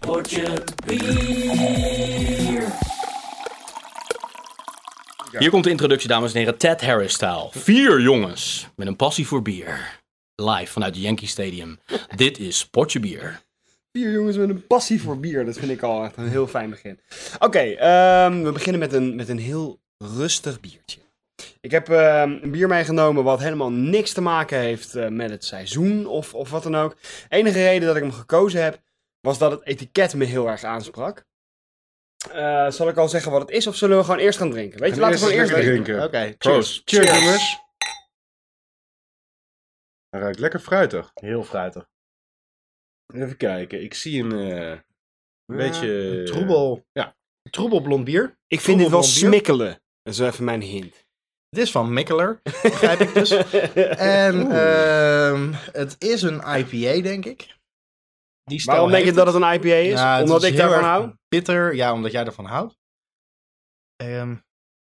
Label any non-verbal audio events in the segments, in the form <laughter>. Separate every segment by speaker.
Speaker 1: Potje bier.
Speaker 2: Hier komt de introductie, dames en heren. Ted Harris-style. Vier jongens met een passie voor bier. Live vanuit het Yankee Stadium. Dit is Potje Bier.
Speaker 3: Vier jongens met een passie voor bier. Dat vind ik al echt een heel fijn begin. Oké, ehm, we beginnen met een, met een heel rustig biertje. Ik heb ehm, een bier meegenomen wat helemaal niks te maken heeft eh, met het seizoen of, of wat dan ook. Enige reden dat ik hem gekozen heb, was dat het etiket me heel erg aansprak. Eh, zal ik al zeggen wat het is of zullen we gewoon eerst gaan drinken? Weet je,
Speaker 4: Gaan
Speaker 3: laten we
Speaker 4: eerst
Speaker 3: gewoon eerst
Speaker 4: lekker
Speaker 3: drinken.
Speaker 4: drinken.
Speaker 3: Oké,
Speaker 4: Proost.
Speaker 3: cheers.
Speaker 4: Cheers, jongens. Hij ruikt lekker fruitig.
Speaker 5: Heel fruitig.
Speaker 4: Even kijken, ik zie een eh, een
Speaker 5: Ja,
Speaker 4: beetje... eh,
Speaker 5: Een troebel.
Speaker 4: ja.
Speaker 5: Een troebel blond bier.
Speaker 3: Ik vind dit wel
Speaker 5: Troebel blond bier.
Speaker 3: smikkelen. Dat is wel even mijn hint.
Speaker 5: Dit is van Mikkeler, begrijp
Speaker 3: <laughs>
Speaker 5: ik dus. En ehm, het is een IPA, denk ik. Die stijl
Speaker 3: Waarom denk je
Speaker 5: heeft
Speaker 3: dat het een IPA is?
Speaker 5: Ja, het
Speaker 3: Omdat
Speaker 5: is
Speaker 3: ik
Speaker 5: heel
Speaker 3: daarvan
Speaker 5: erg
Speaker 3: hou?
Speaker 5: Bitter, ja, omdat jij ervan houdt. Ehm,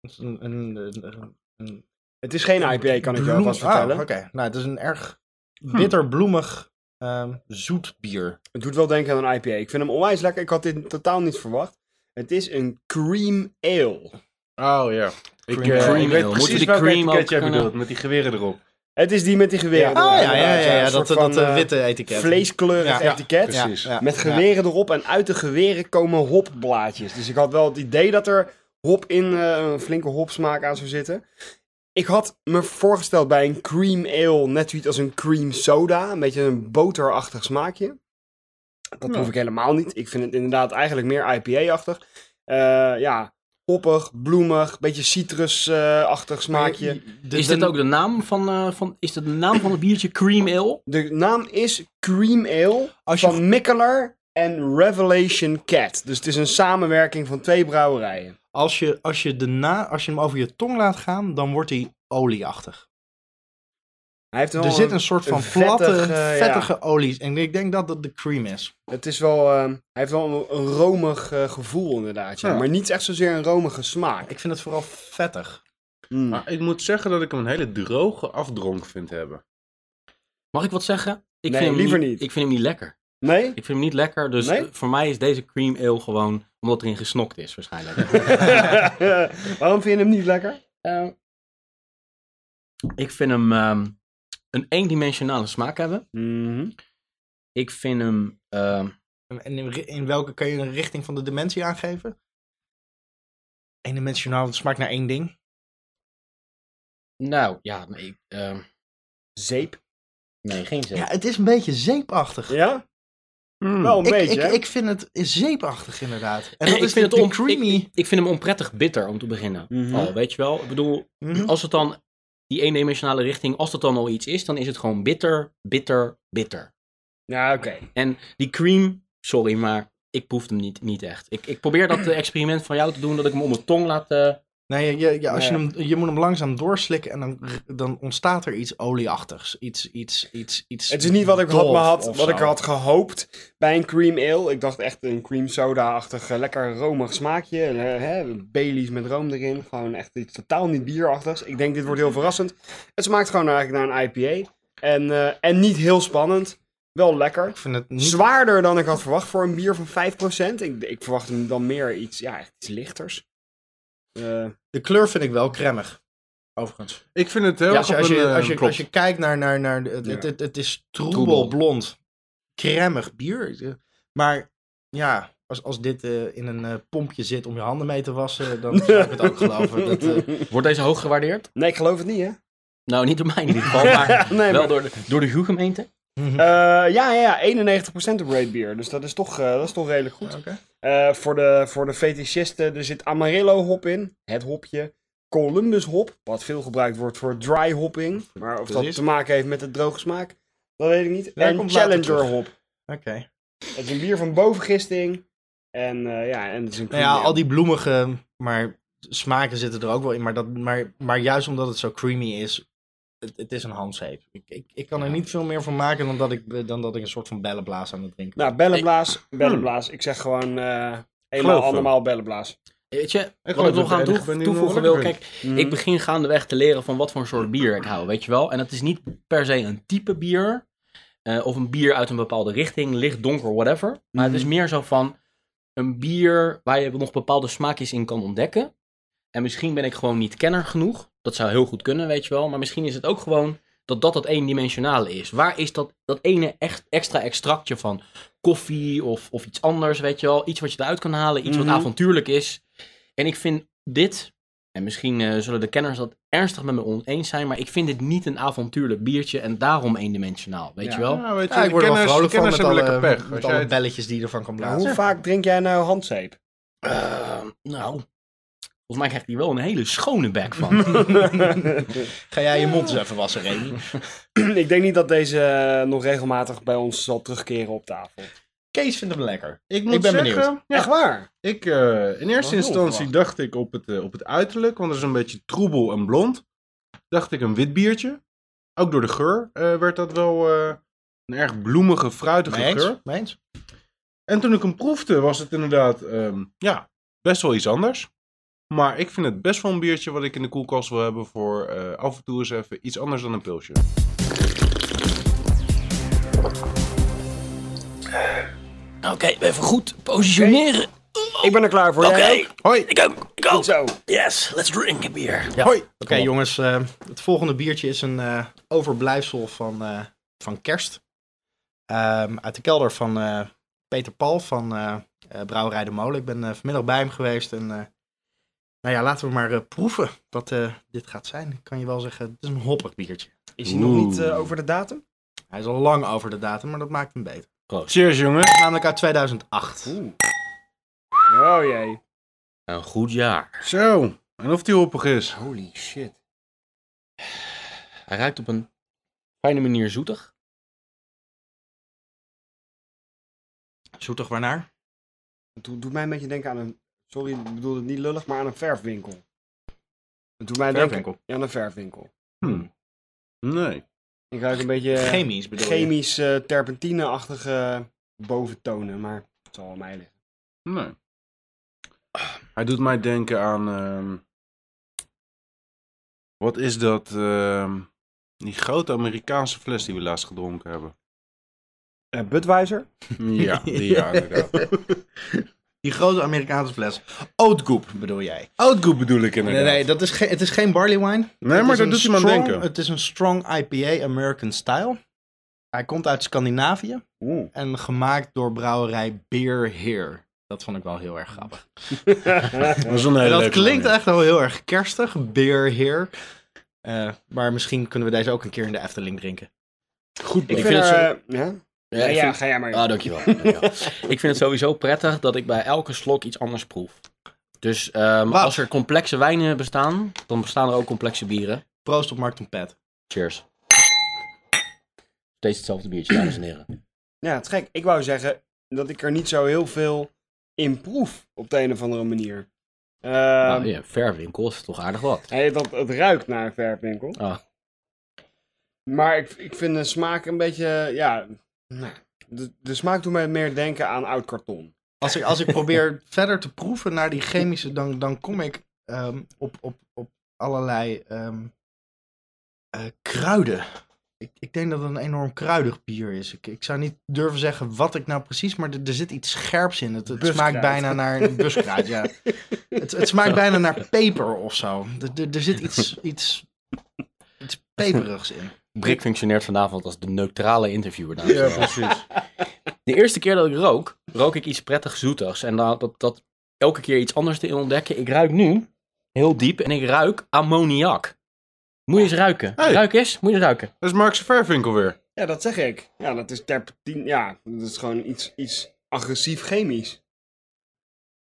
Speaker 5: het is een, een, een, een
Speaker 3: Het is geen IPA, kan ik je
Speaker 5: bloem-
Speaker 3: alvast vertellen.
Speaker 5: Ah, Oké, nou, het is een erg
Speaker 2: Hm.
Speaker 5: bitter, bloemig, ehm, zoet bier.
Speaker 3: Het doet wel denken aan een IPA. Ik vind hem onwijs lekker. Ik had dit totaal niet verwacht. Het is een cream ale.
Speaker 4: Oh ja. Ik,
Speaker 5: Cream
Speaker 4: eh,
Speaker 5: ale.
Speaker 4: ik weet
Speaker 2: Moeten we
Speaker 4: precies
Speaker 2: die
Speaker 4: welke
Speaker 2: cream
Speaker 4: etiket
Speaker 2: ook
Speaker 4: jij
Speaker 2: kunnen-
Speaker 4: bedoelt, met die geweren erop.
Speaker 3: Het is die met die geweren.
Speaker 5: Oh
Speaker 3: erop.
Speaker 5: ja, ja, ja, ja,
Speaker 3: Zo'n
Speaker 5: dat,
Speaker 3: soort
Speaker 5: dat,
Speaker 3: van,
Speaker 5: eh,
Speaker 3: eh,
Speaker 5: witte etiket.
Speaker 3: Vleeskleurig
Speaker 5: Ja,
Speaker 3: etiket.
Speaker 5: Ja,
Speaker 4: precies.
Speaker 5: ja,
Speaker 3: Met
Speaker 5: ja.
Speaker 3: geweren erop. En uit de geweren komen hopblaadjes. Dus ik had wel het idee dat er hop in, eh, een flinke hopsmaak aan zou zitten. Ik had me voorgesteld bij een cream ale, net zoiets als een cream soda. Een beetje een boterachtig smaakje. Dat proef ik helemaal niet. Ik vind het inderdaad eigenlijk meer IPA-achtig. Eh, ja, hoppig, bloemig, beetje citrusachtig smaakje.
Speaker 5: De-
Speaker 2: Is
Speaker 5: de-
Speaker 2: dit ook de naam van, eh, van, is dit de naam van het biertje Cream Ale?
Speaker 3: De naam is Cream Ale
Speaker 5: Als je
Speaker 3: van Mikkeler en Revelation Cat. Dus het is een samenwerking van twee brouwerijen.
Speaker 5: Als je, als, je de na, als je hem over je tong laat gaan, dan wordt hij olieachtig.
Speaker 3: Hij heeft wel
Speaker 5: er zit een soort van
Speaker 3: een
Speaker 5: platte,
Speaker 3: vettig, eh, ja.
Speaker 5: vettige olies. En ik denk dat dat de cream is.
Speaker 3: Het is wel, ehm, hij heeft wel een, een romig eh, gevoel inderdaad. Ja.
Speaker 4: Ja.
Speaker 3: Maar niet echt zozeer een romige smaak.
Speaker 5: Ik vind het vooral vettig.
Speaker 3: Mm.
Speaker 4: Maar ik moet zeggen dat ik hem een hele droge afdronk vind hebben.
Speaker 2: Mag ik wat zeggen? Ik
Speaker 3: Nee,
Speaker 2: hem
Speaker 3: liever niet.
Speaker 2: Ik vind hem niet lekker.
Speaker 5: <laughs>
Speaker 3: Nee? <laughs>
Speaker 2: Ik vind hem niet lekker, dus
Speaker 3: Nee?
Speaker 2: eh, voor mij is deze Cream Ale gewoon omdat erin gesnokt is waarschijnlijk.
Speaker 3: <laughs> Waarom vind je hem niet lekker?
Speaker 2: Eh, ik vind hem ehm, een eendimensionale smaak hebben.
Speaker 5: Mhm.
Speaker 2: Ik vind hem... ehm,
Speaker 5: En in, ri- in welke kan je een richting van de dimensie aangeven? Eendimensionaal, het smaakt naar één ding.
Speaker 2: nou, ja, nee, ik, ehm,
Speaker 3: Zeep.
Speaker 2: nee geen zin.
Speaker 5: Ja, het is een beetje zeepachtig.
Speaker 3: Ja? Wel een
Speaker 5: ik,
Speaker 3: beetje,
Speaker 5: ik,
Speaker 3: hè?
Speaker 5: ik vind het zeepachtig inderdaad. En dat
Speaker 2: Ik vind
Speaker 5: is vind
Speaker 2: het
Speaker 5: de
Speaker 2: on-
Speaker 5: creamy.
Speaker 2: Ik vind hem onprettig bitter om te beginnen.
Speaker 3: Mhm.
Speaker 2: Al, weet je wel? Ik bedoel,
Speaker 5: Mhm.
Speaker 2: als het dan die eendimensionale richting, als dat dan al iets is, dan is het gewoon bitter, bitter, bitter.
Speaker 3: Ja, oké.
Speaker 2: En die cream, sorry, maar ik proef hem niet, niet echt. Ik, ik probeer dat eh, experiment van jou te doen, dat ik hem om mijn tong laat. eh,
Speaker 5: Nee, je, je, als
Speaker 3: Ja.
Speaker 5: je, hem, je moet hem langzaam doorslikken en dan, dan ontstaat er iets olieachtigs. Iets, iets, iets, iets
Speaker 3: Het is niet wat ik had,
Speaker 5: dof
Speaker 3: maar had,
Speaker 5: of
Speaker 3: wat ik
Speaker 5: zo.
Speaker 3: had gehoopt bij een cream ale. Ik dacht echt een cream soda-achtig, eh, lekker romig smaakje. eh, Hè, Baileys met room erin. Gewoon echt iets totaal niet bierachtigs. Ik denk, dit wordt heel verrassend. Het smaakt gewoon eigenlijk naar een IPA. En, eh, en niet heel spannend. Wel lekker.
Speaker 5: Ik vind het niet
Speaker 3: Zwaarder dan ik had verwacht voor een bier van 5%. Ik, ik verwacht hem dan meer iets, ja, echt iets lichters. Eh,
Speaker 5: De kleur vind ik wel cremmig. Overigens.
Speaker 4: Ik vind het heel
Speaker 5: als,
Speaker 4: erg
Speaker 5: je,
Speaker 4: op
Speaker 5: als,
Speaker 4: een,
Speaker 5: je,
Speaker 4: eh,
Speaker 5: als, je,
Speaker 4: klop.
Speaker 5: als je kijkt naar. naar, naar de- het,
Speaker 3: Ja.
Speaker 5: het, het, is
Speaker 2: Troebel.
Speaker 5: troebel blond. Cremmig bier. Maar ja, als, als dit eh, in een eh, pompje zit om je handen mee te wassen. dan zou ik het ook geloven. Dat, eh,
Speaker 2: Wordt deze hoog gewaardeerd?
Speaker 3: nee, ik geloof het niet, hè?
Speaker 2: Nou, niet door mij in ieder
Speaker 3: <laughs>
Speaker 2: geval, maar
Speaker 3: Nee,
Speaker 2: wel
Speaker 3: maar-
Speaker 2: door de, door de gemeente.
Speaker 3: Eh, ja, ja, ja, 91% op Raid Beer. Dus dat is toch, eh, dat is toch redelijk goed.
Speaker 5: Oké.
Speaker 3: Eh, voor, de, voor de fetischisten, er zit Amarillo hop in, het hopje. Columbus hop, wat veel gebruikt wordt voor dry hopping. Maar of dat
Speaker 5: Precies.
Speaker 3: te maken heeft met de droge smaak, dat weet ik niet.
Speaker 5: Daar
Speaker 3: en
Speaker 5: komt later
Speaker 3: Challenger
Speaker 5: terug.
Speaker 3: hop.
Speaker 5: Oké.
Speaker 3: Het is een bier van bovengisting. En eh, ja, en het is een
Speaker 5: Nou ja,
Speaker 3: cream ale.
Speaker 5: al die bloemige. Maar smaken zitten er ook wel in. Maar, dat, maar, maar juist omdat het zo creamy is. Het, het is een handzeep. Ik, ik, ik kan er niet veel meer van maken dan dat ik, dan dat ik een soort van bellenblaas aan het drinken
Speaker 3: Nou, bellenblaas,
Speaker 5: hmm.
Speaker 3: bellenblaas. Ik zeg gewoon eh eenmaal,
Speaker 4: Geloof hem.
Speaker 3: andermaal bellenblaas.
Speaker 2: Weet je, wat
Speaker 4: geloof
Speaker 2: ik
Speaker 4: dat
Speaker 2: nog
Speaker 4: ik
Speaker 2: aan
Speaker 4: de enige
Speaker 2: toe-
Speaker 4: ben die
Speaker 2: toevoegen
Speaker 4: hem wel
Speaker 2: wil,
Speaker 4: lekker
Speaker 2: kijk,
Speaker 3: Hmm. Mm-hmm.
Speaker 2: ik begin gaandeweg te leren van wat voor soort bier ik hou, weet je wel. En het is niet per se een type bier, eh, of een bier uit een bepaalde richting, licht, donker, whatever. Maar het is meer zo van een bier waar je nog bepaalde smaakjes in kan ontdekken. En misschien ben ik gewoon niet kenner genoeg. Dat zou heel goed kunnen, weet je wel. Maar misschien is het ook gewoon dat dat dat eendimensionale is. Waar is dat, dat ene echt extra extractje van koffie of, of iets anders, weet je wel. Iets wat je eruit kan halen, iets
Speaker 3: Mhm.
Speaker 2: wat avontuurlijk is. En ik vind dit, en misschien eh, zullen de kenners dat ernstig met me oneens zijn, maar ik vind dit niet een avontuurlijk biertje en daarom eendimensionaal, weet
Speaker 3: Ja.
Speaker 2: je wel.
Speaker 4: Ja, weet je,
Speaker 5: Ja, ik word er wel
Speaker 4: kenners,
Speaker 5: vrolijk van
Speaker 4: kenners
Speaker 5: met
Speaker 4: hebben
Speaker 5: alle,
Speaker 4: lekker pech. Als
Speaker 5: met
Speaker 4: jij
Speaker 5: alle
Speaker 4: het-
Speaker 5: belletjes die je ervan kan
Speaker 3: hoe
Speaker 5: plaatsen.
Speaker 3: vaak drink jij nou handzeep? <clears throat>
Speaker 2: Eh, nou, volgens mij krijgt hij wel een hele schone bek van.
Speaker 5: <laughs> Ga jij je mond eens even wassen, Remy? <laughs>
Speaker 3: ik denk niet dat deze eh, nog regelmatig bij ons zal terugkeren op tafel.
Speaker 5: Kees vindt hem lekker.
Speaker 4: Ik moet
Speaker 5: Ik ben
Speaker 4: zeggen,
Speaker 5: benieuwd.
Speaker 4: ja,
Speaker 3: Echt waar?
Speaker 4: ik, eh, in eerste
Speaker 3: heel
Speaker 4: instantie
Speaker 3: onverwacht.
Speaker 4: dacht ik op het, eh, op het uiterlijk, want er is een beetje troebel en blond. Dacht ik een wit biertje. Ook door de geur eh, werd dat wel eh, een erg bloemige, fruitige
Speaker 5: Mee eens?
Speaker 4: geur.
Speaker 5: Mee eens?
Speaker 4: En toen ik hem proefde, was het inderdaad ehm, ja, best wel iets anders. Maar ik vind het best wel een biertje wat ik in de koelkast wil hebben voor eh, af en toe eens even iets anders dan een pilsje.
Speaker 2: Oké, even goed positioneren.
Speaker 3: Ik ben er klaar voor.
Speaker 2: Oké,
Speaker 3: Jij ook?
Speaker 4: Hoi!
Speaker 2: ik ook, ik ook.
Speaker 3: Zo.
Speaker 2: Yes, let's drink a beer.
Speaker 4: Hoi!
Speaker 5: Oké jongens, eh, het volgende biertje is een eh, overblijfsel van, eh, van kerst. Ehm, uit de kelder van eh, Peter Paul van eh, eh, Brouwerij de Molen. Ik ben eh, vanmiddag bij hem geweest en eh, nou ja, laten we maar eh, proeven wat eh, dit gaat zijn. Ik kan je wel zeggen, het is een hoppig biertje.
Speaker 3: Is hij nog niet eh,
Speaker 4: Oeh.
Speaker 3: over de datum?
Speaker 5: Hij is al lang over de datum, maar dat maakt hem beter.
Speaker 4: Cheers jongens!
Speaker 5: Namelijk uit 2008.
Speaker 3: Oh jee.
Speaker 2: Een goed jaar.
Speaker 4: Zo, en of die hoppig is.
Speaker 3: Holy shit.
Speaker 2: Hij ruikt op een fijne manier zoetig.
Speaker 5: Zoetig waarnaar?
Speaker 3: Het doet, doet mij een beetje denken aan een. Sorry, ik bedoel het niet lullig, maar aan een verfwinkel. Het doet mij denken
Speaker 5: Verfwinkel.
Speaker 3: ja, aan een verfwinkel.
Speaker 4: Hm. Nee.
Speaker 3: Ik ruik een beetje eh,
Speaker 5: Chemisch bedoel je?
Speaker 3: chemisch eh, terpentine-achtige boventonen, maar het zal aan mij liggen.
Speaker 4: Nee. Hij doet mij denken aan. ehm, wat is dat? ehm, die grote Amerikaanse fles die we laatst gedronken hebben. Eh,
Speaker 3: Budweiser?
Speaker 4: <laughs> Ja, die ja, inderdaad. <laughs>
Speaker 5: Die grote Amerikaanse fles. Oatgoop bedoel jij?
Speaker 4: Outgoed bedoel ik inderdaad.
Speaker 5: Oh, Nee, nee dat is geen- het is geen barley wine.
Speaker 4: Nee, maar
Speaker 5: Het is
Speaker 4: dat
Speaker 5: een
Speaker 4: doet hij me aan
Speaker 5: strong-
Speaker 4: denken.
Speaker 5: Het is een strong IPA, American style. Hij komt uit Scandinavië
Speaker 3: Oeh.
Speaker 5: en gemaakt door brouwerij Beer Here. Dat vond ik wel heel erg grappig.
Speaker 4: Dat is een hele
Speaker 5: dat
Speaker 4: leuke
Speaker 5: klinkt
Speaker 4: manier.
Speaker 5: echt wel heel erg kerstig, Beer Here. Eh, maar misschien kunnen we deze ook een keer in de Efteling drinken.
Speaker 4: Goed,
Speaker 3: Ik
Speaker 4: ik
Speaker 3: vind
Speaker 2: vind
Speaker 3: er,
Speaker 2: het
Speaker 3: eh, ja?
Speaker 2: Ja,
Speaker 3: Ja,
Speaker 2: ik
Speaker 3: ja,
Speaker 2: vind-
Speaker 3: ga jij maar. joh.
Speaker 2: Ah, dankjewel. dankjewel. <laughs> ik vind het sowieso prettig dat ik bij elke slok iets anders proef. Dus ehm,
Speaker 5: Wauw.
Speaker 2: als er complexe wijnen bestaan, dan bestaan er ook complexe bieren.
Speaker 5: Proost op Mark Pet.
Speaker 2: Cheers. Steeds hetzelfde biertje, dames en heren.
Speaker 3: Ja, het is gek. Ik wou zeggen dat ik er niet zo heel veel in proef op de een of andere manier. Ehm,
Speaker 2: Nou, ja, verwinkel is toch aardig wat.
Speaker 3: hij- dat, het ruikt naar een verfwinkel.
Speaker 2: Ah.
Speaker 3: Maar ik, ik vind de smaak een beetje, ja... nou, De, de smaak doet mij meer denken aan oud karton.
Speaker 5: Als ik, als ik probeer verder te proeven naar die chemische, dan, dan kom ik ehm, op, op, op allerlei ehm, eh, kruiden. Ik, ik denk dat het een enorm kruidig bier is. Ik, ik zou niet durven zeggen wat ik nou precies, maar er, er zit iets scherps in. Het, het
Speaker 3: Buskruid.
Speaker 5: smaakt bijna naar buskruid, ja. Het, het smaakt bijna naar peper of zo. Er, er, er zit iets, iets, iets peperigs in.
Speaker 2: Brik functioneert vanavond als de neutrale interviewer. dames en
Speaker 4: Ja,
Speaker 2: heren. <laughs>
Speaker 4: precies.
Speaker 2: De eerste keer dat ik rook, rook ik iets prettig zoetigs. En dat, dat, dat elke keer iets anders te ontdekken. Ik ruik nu heel diep en ik ruik ammoniak. Moet je eens ruiken.
Speaker 4: Hey.
Speaker 2: Ruik eens, moet je eens ruiken.
Speaker 4: Dat is Mark's Verwinkel weer.
Speaker 3: Ja, dat zeg ik. Ja, dat is terpentine. Ja, dat is gewoon iets, iets agressief chemisch.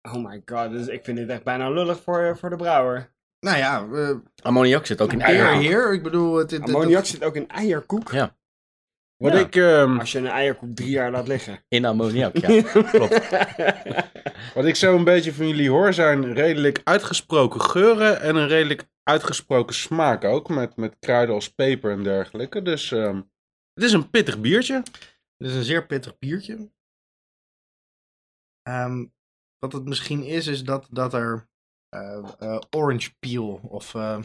Speaker 3: Oh my god, dus ik vind dit echt bijna lullig voor, voor de brouwer.
Speaker 5: Nou ja, eh
Speaker 2: Ammoniak zit ook in
Speaker 5: bier
Speaker 2: eieren.
Speaker 5: hier. Ik bedoel, het, het- het-
Speaker 3: Ammoniak zit ook in eierkoek.
Speaker 2: Ja.
Speaker 4: Wat
Speaker 3: Ja.
Speaker 4: ik. ehm,
Speaker 3: Als je een eierkoek drie jaar laat liggen.
Speaker 2: In ammoniak, ja. Klopt.
Speaker 3: <laughs>
Speaker 4: Wat ik zo een beetje van jullie hoor zijn redelijk uitgesproken geuren en een redelijk uitgesproken smaak ook. Met, met kruiden als peper en dergelijke. Dus ehm, het is een pittig biertje.
Speaker 5: Het is een zeer pittig biertje. Ehm, wat het misschien is, is dat, dat er eh, eh, orange peel of eh,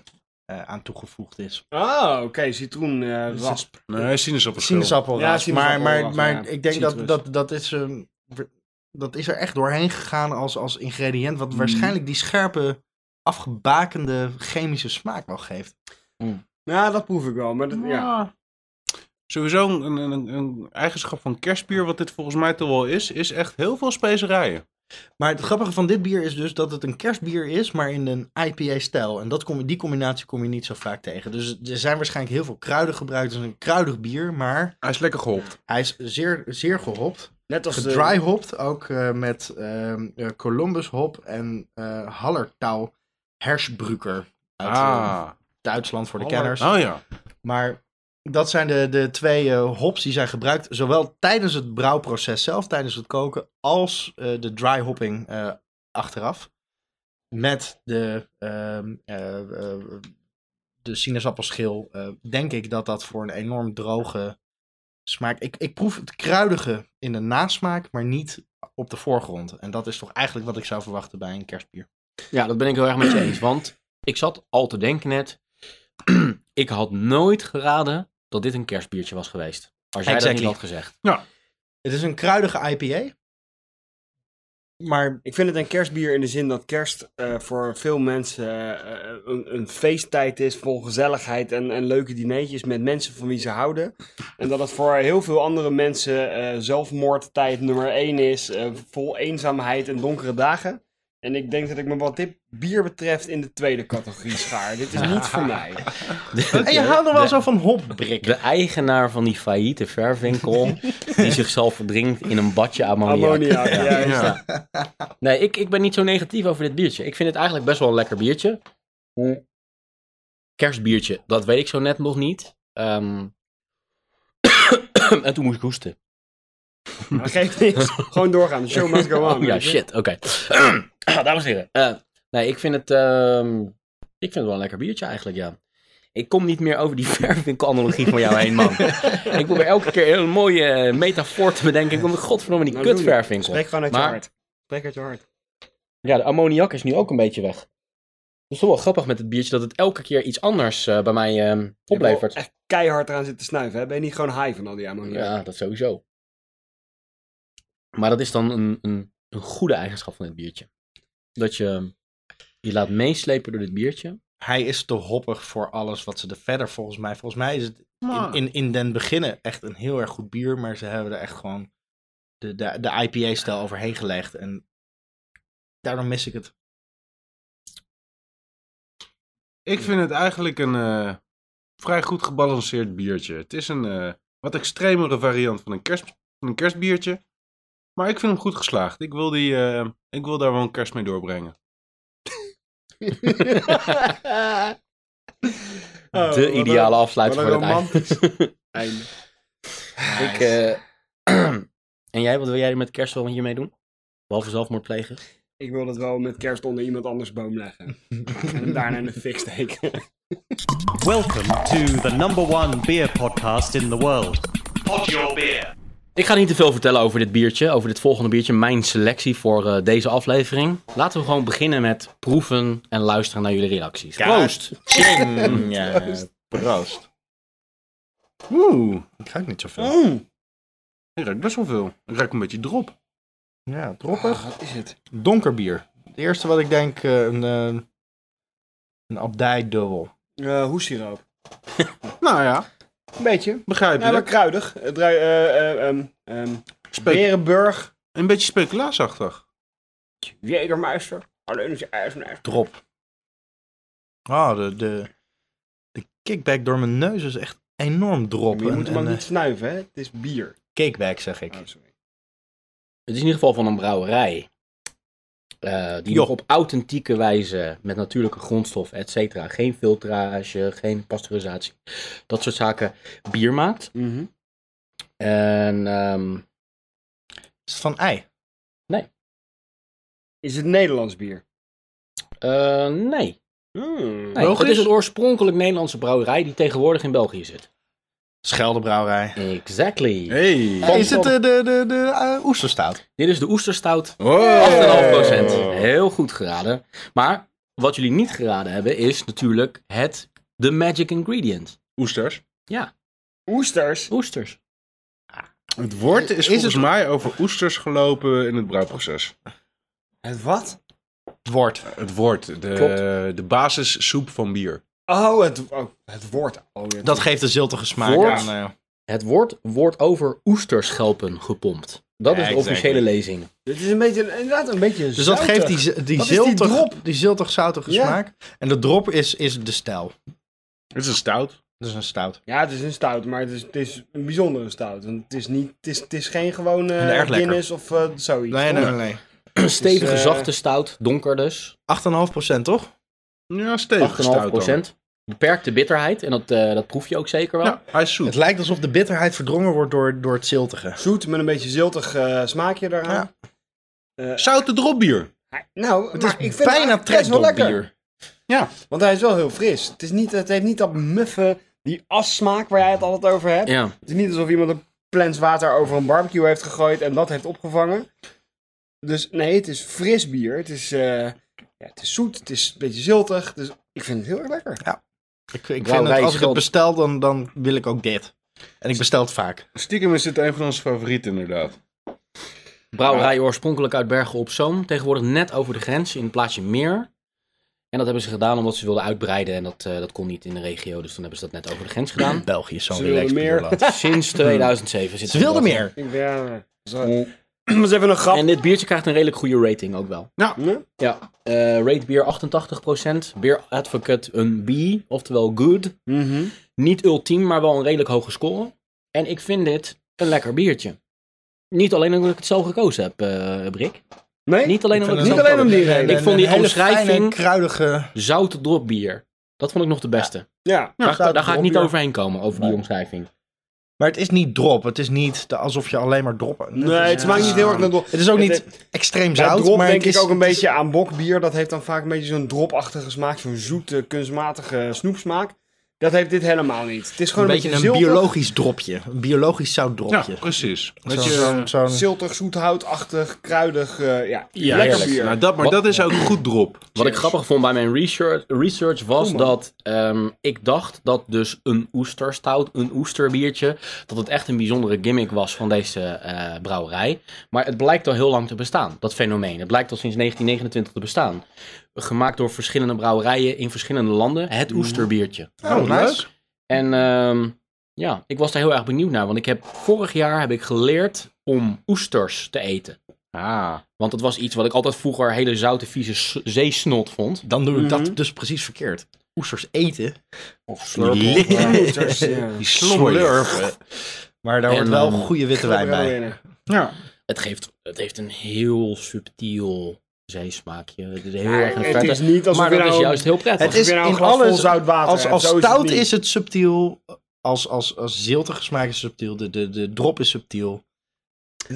Speaker 5: eh, aan toegevoegd is.
Speaker 3: Ah, oké, citroen, eh, rasp.
Speaker 4: Nee, sinaasappelschil.
Speaker 5: Sinaasappelraad.
Speaker 3: Ja,
Speaker 5: maar, maar,
Speaker 3: sinaasappelraad,
Speaker 5: maar
Speaker 3: ja.
Speaker 5: ik denk dat,
Speaker 3: Citrus.
Speaker 5: dat, dat, is, ehm, ver- dat is er echt doorheen gegaan als, als ingrediënt.
Speaker 3: Mm.
Speaker 5: Wat waarschijnlijk die scherpe, afgebakende chemische smaak wel geeft.
Speaker 3: Ja, dat proef ik wel. Maar dat, ja.
Speaker 4: Ja. Sowieso een, een- een, een eigenschap van kerstbier, wat dit volgens mij toch wel is, is echt heel veel specerijen.
Speaker 5: Maar het grappige van dit bier is dus dat het een kerstbier is, maar in een IPA-stijl. En dat kom, die combinatie kom je niet zo vaak tegen. Dus er zijn waarschijnlijk heel veel kruiden gebruikt. Het is een kruidig bier, maar
Speaker 4: Hij is lekker geholpt.
Speaker 5: hij is zeer, zeer gehopt.
Speaker 3: Net
Speaker 4: eh,
Speaker 3: als de...
Speaker 5: Gedryhopt, ook eh, met ehm, eh, Columbus hop en eh Hallertau Hersbrucker uit eh,
Speaker 4: Ah.
Speaker 5: Duitsland voor de
Speaker 4: Haller-
Speaker 5: kenners.
Speaker 4: Oh ja.
Speaker 5: Maar dat zijn de, de twee eh, hops die zijn gebruikt, zowel tijdens het brouwproces zelf, tijdens het koken, als eh, de dry hopping eh, achteraf. Met de, ehm, eh, eh, de sinaasappelschil eh, denk ik dat dat voor een enorm droge smaak... Ik, ik proef het kruidige in de nasmaak, maar niet op de voorgrond. En dat is toch eigenlijk wat ik zou verwachten bij een kerstbier.
Speaker 2: <laughs> Ja, dat ben ik heel erg met je eens. Want ik zat al te denken net. <clears throat> ik had nooit geraden dat dit een kerstbiertje was geweest. Als jij dat
Speaker 5: Exactly.
Speaker 2: niet had gezegd.
Speaker 5: Het is een kruidige IPA, maar
Speaker 3: Ik vind het een kerstbier in de zin dat kerst eh, voor veel mensen eh, eh, een, een feesttijd is vol gezelligheid en, en leuke dineetjes met mensen van wie ze houden. En dat het voor heel veel andere mensen eh zelfmoordtijd nummer één is, eh, vol eenzaamheid en donkere dagen. En ik denk dat ik me wat dit bier betreft in de tweede categorie schaar. Dit is niet voor mij.
Speaker 5: En je houdt er wel zo van hopbrik.
Speaker 2: De eigenaar van die failliete <laughs> verfwinkel. die zichzelf verdrinkt in een badje <laughs> ammoniak.
Speaker 3: Ammoniak, ja. ja.
Speaker 4: ja.
Speaker 2: Nee, ik, ik ben niet zo negatief over dit biertje. Ik vind het eigenlijk best wel een lekker biertje. Kerstbiertje, dat weet ik zo net nog niet. Ehm, <coughs> en toen moest ik hoesten.
Speaker 3: Dat geeft niks. Gewoon doorgaan. The show must go on.
Speaker 2: Oh ja,
Speaker 3: weet je.
Speaker 2: shit,
Speaker 3: <clears throat>
Speaker 2: oké. Dames en heren. eh, nee, ik vind, het, ehm, ik vind het wel een lekker biertje eigenlijk, ja. Ik kom niet meer over die <laughs> verfwinkel-analogie van jou heen,
Speaker 3: <laughs>
Speaker 2: man. ik probeer elke keer een mooie eh, metafoor te bedenken. Ik kom godverdomme die
Speaker 3: Nou, doe je.
Speaker 2: kutverfwinkel.
Speaker 3: Spreek gewoon uit je
Speaker 2: Maar-
Speaker 3: hart. Spreek uit je hart.
Speaker 2: Ja, de ammoniak is nu ook een beetje weg. Dat is toch wel grappig met het biertje dat het elke keer iets anders eh, bij mij ehm,
Speaker 3: Je
Speaker 2: oplevert.
Speaker 3: hebt wel echt keihard eraan zitten snuiven. Hè? Ben je niet gewoon high van al die ammoniak?
Speaker 2: Ja, dat sowieso. Maar dat is dan een, een, een goede eigenschap van dit biertje. Dat je je laat meeslepen door dit
Speaker 3: Oh,
Speaker 2: biertje.
Speaker 5: Hij is te hoppig voor alles wat ze er verder volgens mij. Volgens mij is het in,
Speaker 4: Maar-
Speaker 5: in, in den beginnen echt een heel erg goed bier. Maar ze hebben er echt gewoon de, de, de IPA-stijl overheen gelegd. En daardoor mis ik het.
Speaker 4: Ik vind het eigenlijk een eh, vrij goed gebalanceerd biertje. Het is een eh, wat extremere variant van een, kerst, van een kerstbiertje. Maar ik vind hem goed geslaagd. Ik wil, die, eh, ik wil daar wel een kerst mee doorbrengen.
Speaker 3: Oh, wat
Speaker 2: de
Speaker 3: een-
Speaker 2: ideale afsluiter
Speaker 3: wat
Speaker 2: voor
Speaker 3: een
Speaker 2: het einde.
Speaker 3: Einde.
Speaker 2: <laughs> Ik, eh, <clears throat> en jij, wat wil jij met kerst wel hiermee doen? Behalve zelfmoord plegen.
Speaker 3: Ik wil dat wel met kerst onder iemand anders boom <laughs> leggen. en hem daarna in de fik steken.
Speaker 6: Welcome to the number one beer podcast in the world. Pod Your Beer.
Speaker 2: Ik ga niet te veel vertellen over dit biertje, over dit volgende biertje, mijn selectie voor eh, deze aflevering. Laten we gewoon beginnen met proeven en luisteren naar jullie reacties. Proost!
Speaker 3: <laughs>
Speaker 5: Ching! Ah, Ja, proost.
Speaker 4: Oeh,
Speaker 5: Ik ruik niet zoveel.
Speaker 3: Oh,
Speaker 4: ik ruik best wel veel. Ik ruik een beetje drop.
Speaker 5: Ja, droppig.
Speaker 3: wat is het?
Speaker 5: Donker bier. Ah. Het eerste wat ik denk, eh, een, eh, een abdijdubbel.
Speaker 3: Eh hoessiroop.
Speaker 4: Nou ja,
Speaker 3: Een beetje. Ja, maar
Speaker 4: begrijpelijk.
Speaker 3: kruidig. Het ruikt, eh, eh, ehm, ehm,
Speaker 4: Spe-
Speaker 3: Berenburg.
Speaker 4: Een beetje speculaasachtig.
Speaker 3: Jedermeister. Alleen is je ijsmeister.
Speaker 5: Drop. Ah, de, de, de kickback door mijn neus is echt enorm drop.
Speaker 3: Maar Je
Speaker 5: En-
Speaker 3: moet hem
Speaker 5: en,
Speaker 3: ook
Speaker 5: eh,
Speaker 3: niet snuiven, hè? Het is bier.
Speaker 5: Cakeback, zeg ik.
Speaker 3: Oh, sorry.
Speaker 2: Het is in ieder geval van een brouwerij. eh, die nog op authentieke wijze, met natuurlijke grondstof, et cetera. Geen filtrage, geen pasteurisatie. Dat soort zaken. Bier maakt.
Speaker 3: Mhm.
Speaker 2: En ehm,
Speaker 5: Is het van ei?
Speaker 3: Is het Nederlands bier?
Speaker 2: eh, nee. nee. Het
Speaker 4: Logisch.
Speaker 2: is een oorspronkelijk Nederlandse brouwerij die tegenwoordig in België zit.
Speaker 5: Scheldebrouwerij.
Speaker 2: Exactly.
Speaker 4: Hey.
Speaker 5: Hey, is het de, de, de, de eh, oesterstaat?
Speaker 2: Dit is de oesterstout 8,5
Speaker 4: Oh.
Speaker 2: Heel goed geraden. Maar wat jullie niet geraden hebben is natuurlijk het The magic ingredient.
Speaker 4: Oesters.
Speaker 2: Ja,
Speaker 3: Oesters.
Speaker 2: oesters.
Speaker 4: Het woord is,
Speaker 5: Is
Speaker 4: volgens
Speaker 5: het-
Speaker 4: mij over oesters gelopen in het brouwproces.
Speaker 3: Het wat?
Speaker 5: Het woord.
Speaker 4: Het woord, de,
Speaker 2: Klopt.
Speaker 4: de basissoep van bier.
Speaker 3: Oh, het, oh, het woord. Oh, ja.
Speaker 5: Dat geeft een ziltige smaak
Speaker 2: Woord?
Speaker 5: aan. eh,
Speaker 2: Het woord wordt over oesterschelpen gepompt. Dat is de
Speaker 5: Exactly.
Speaker 2: officiële lezing.
Speaker 3: Dit is een beetje, inderdaad een beetje
Speaker 5: dus dat
Speaker 3: zoutig.
Speaker 5: geeft die, z- die,
Speaker 3: Wat is die
Speaker 5: ziltig, die,
Speaker 3: drop?
Speaker 5: ziltig zoutige
Speaker 3: Ja.
Speaker 5: smaak. En de drop is, is de stijl.
Speaker 4: Het is een stout.
Speaker 5: Dat is een stout.
Speaker 3: Ja, het is een stout, maar het is, het is een bijzondere stout. Want het is, niet, het is, het is geen gewone
Speaker 5: En erg lekker.
Speaker 3: Guinness of eh, zoiets.
Speaker 5: Nee, nee,
Speaker 3: toch?
Speaker 5: nee. nee.
Speaker 2: Stevige,
Speaker 3: eh,
Speaker 2: zachte stout, donker dus.
Speaker 5: 8,5% toch?
Speaker 4: Ja,
Speaker 2: 8,5
Speaker 4: stevig stout dan.
Speaker 2: Beperkte bitterheid. En dat, eh, dat proef je ook zeker wel.
Speaker 4: Ja, hij is
Speaker 5: Het
Speaker 4: zoet.
Speaker 5: lijkt alsof de bitterheid verdrongen wordt door, door het ziltige.
Speaker 3: Zoet met een beetje ziltig eh, smaakje eraan.
Speaker 4: Zoute dropbier.
Speaker 3: Nou,
Speaker 5: Het
Speaker 3: maar
Speaker 5: is
Speaker 3: ik vind
Speaker 5: bijna
Speaker 3: het best wel
Speaker 5: trekdop
Speaker 3: lekker.
Speaker 5: bier.
Speaker 4: Ja.
Speaker 3: Want hij is wel heel fris. Het, is niet, het heeft niet dat muffe, die assmaak waar jij het altijd over hebt.
Speaker 2: ja.
Speaker 3: Het is niet alsof iemand een plens water over een barbecue heeft gegooid en dat heeft opgevangen. Dus nee, het is fris bier. Het is, eh, ja, het is zoet, het is een beetje ziltig. Dus ik vind het heel erg lekker.
Speaker 5: Ik, ik
Speaker 2: Wauw,
Speaker 5: vind dat
Speaker 2: wij
Speaker 5: als ik het
Speaker 2: schelden.
Speaker 5: bestel, dan, dan wil ik ook dit. En ik bestel het vaak.
Speaker 4: Stiekem is dit een van onze favorieten inderdaad.
Speaker 2: Brouwerij oorspronkelijk uit Bergen op Zoom. Tegenwoordig net over de grens in het plaatsje Meer. En dat hebben ze gedaan omdat ze wilden uitbreiden. En dat, eh, dat kon niet in de regio. Dus toen hebben ze dat net over de grens
Speaker 5: <clears throat>
Speaker 2: gedaan.
Speaker 5: België is zo'n
Speaker 3: Ze wilden
Speaker 5: relaxed
Speaker 3: meer.
Speaker 5: bierland.
Speaker 2: Sinds 2007 zit
Speaker 5: <laughs> Ze wilden meer.
Speaker 3: Ik ben, ja, zo. Dat is even een grap.
Speaker 2: En dit biertje krijgt een redelijk goede rating ook wel.
Speaker 3: Ja. Hm?
Speaker 2: Ja. Eh rate bier 88%. Beer Advocate een B, oftewel good.
Speaker 3: Mhm.
Speaker 2: Niet ultiem, maar wel een redelijk hoge score. En ik vind dit een lekker biertje. Niet alleen omdat ik het zelf gekozen heb, eh Brik.
Speaker 3: Nee?
Speaker 2: Niet alleen omdat ik
Speaker 3: het
Speaker 2: het
Speaker 3: niet
Speaker 2: zelf
Speaker 3: alleen om die reden.
Speaker 2: Ik vond die omschrijving-
Speaker 5: kruidige...
Speaker 2: Zout dropbier. Dat vond ik nog de beste.
Speaker 3: Ja.
Speaker 2: Daar,
Speaker 5: zout
Speaker 2: daar ga ik niet
Speaker 5: dropbier.
Speaker 2: overheen komen, over die omschrijving.
Speaker 5: Maar het is niet drop. Het is niet de- alsof je alleen maar droppen...
Speaker 3: Nee, het smaakt niet heel erg naar drop.
Speaker 5: Het is ook
Speaker 3: Het-
Speaker 5: niet extreem
Speaker 3: Bij
Speaker 5: zout,
Speaker 3: drop
Speaker 5: maar
Speaker 3: denk
Speaker 5: het is,
Speaker 3: ik ook een
Speaker 5: het is-
Speaker 3: beetje aan bokbier. Dat heeft dan vaak een beetje zo'n dropachtige smaak. Zo'n zoete, kunstmatige snoepsmaak. Dat heeft dit helemaal niet. Het is
Speaker 5: een
Speaker 3: gewoon
Speaker 5: beetje een
Speaker 3: ziltig,
Speaker 5: biologisch dropje. Een biologisch
Speaker 4: Ja,
Speaker 5: zoutdropje.
Speaker 4: precies.
Speaker 5: Zo'n-
Speaker 4: Dat je,
Speaker 5: zo'n- zo'n-
Speaker 3: ziltig, zoethoutachtig, kruidig. eh, ja,
Speaker 2: Ja,
Speaker 3: lekker
Speaker 2: heerlijk.
Speaker 3: bier.
Speaker 4: nou, dat, maar
Speaker 2: Wat-
Speaker 4: dat is ook goed drop.
Speaker 2: Wat ik grappig vond bij mijn research, research was
Speaker 3: man.
Speaker 2: dat ehm, ik dacht dat dus een oesterstout, een oesterbiertje, dat het echt een bijzondere gimmick was van deze eh, brouwerij. Maar het blijkt al heel lang te bestaan, dat fenomeen. Het blijkt al sinds 1929 te bestaan. Gemaakt door verschillende brouwerijen in verschillende landen. Het oesterbiertje.
Speaker 5: Oh, nice.
Speaker 2: En ehm, ja, ik was daar heel erg benieuwd naar. Want ik heb vorig jaar heb ik geleerd om oesters te eten.
Speaker 4: Ah.
Speaker 2: Want dat was iets wat ik altijd vroeger hele zoute, vieze s- zeesnot vond.
Speaker 5: Dan doe
Speaker 3: Mhm.
Speaker 5: ik dat dus precies verkeerd. Oesters eten.
Speaker 3: Of slurp.
Speaker 5: Ja. <laughs>
Speaker 4: Die slurp.
Speaker 5: Maar daar
Speaker 2: En,
Speaker 5: wordt wel
Speaker 2: ehm,
Speaker 5: goede witte wijn bij.
Speaker 4: Ja.
Speaker 2: Het, geeft, het heeft een heel subtiel zeesmaakje. Het is heel erg een
Speaker 3: Het
Speaker 2: vette-
Speaker 3: is niet alsof
Speaker 2: Maar
Speaker 3: je
Speaker 2: dat
Speaker 3: nou...
Speaker 2: is juist heel prettig.
Speaker 5: Het is
Speaker 3: je nou een
Speaker 5: in
Speaker 3: glas vol
Speaker 5: alles-
Speaker 3: zout water
Speaker 5: Als,
Speaker 3: hebt,
Speaker 5: als
Speaker 3: zo is het
Speaker 5: stout
Speaker 3: niet.
Speaker 5: is het subtiel. Als, als, als ziltige smaak is subtiel. De, de, de drop is subtiel.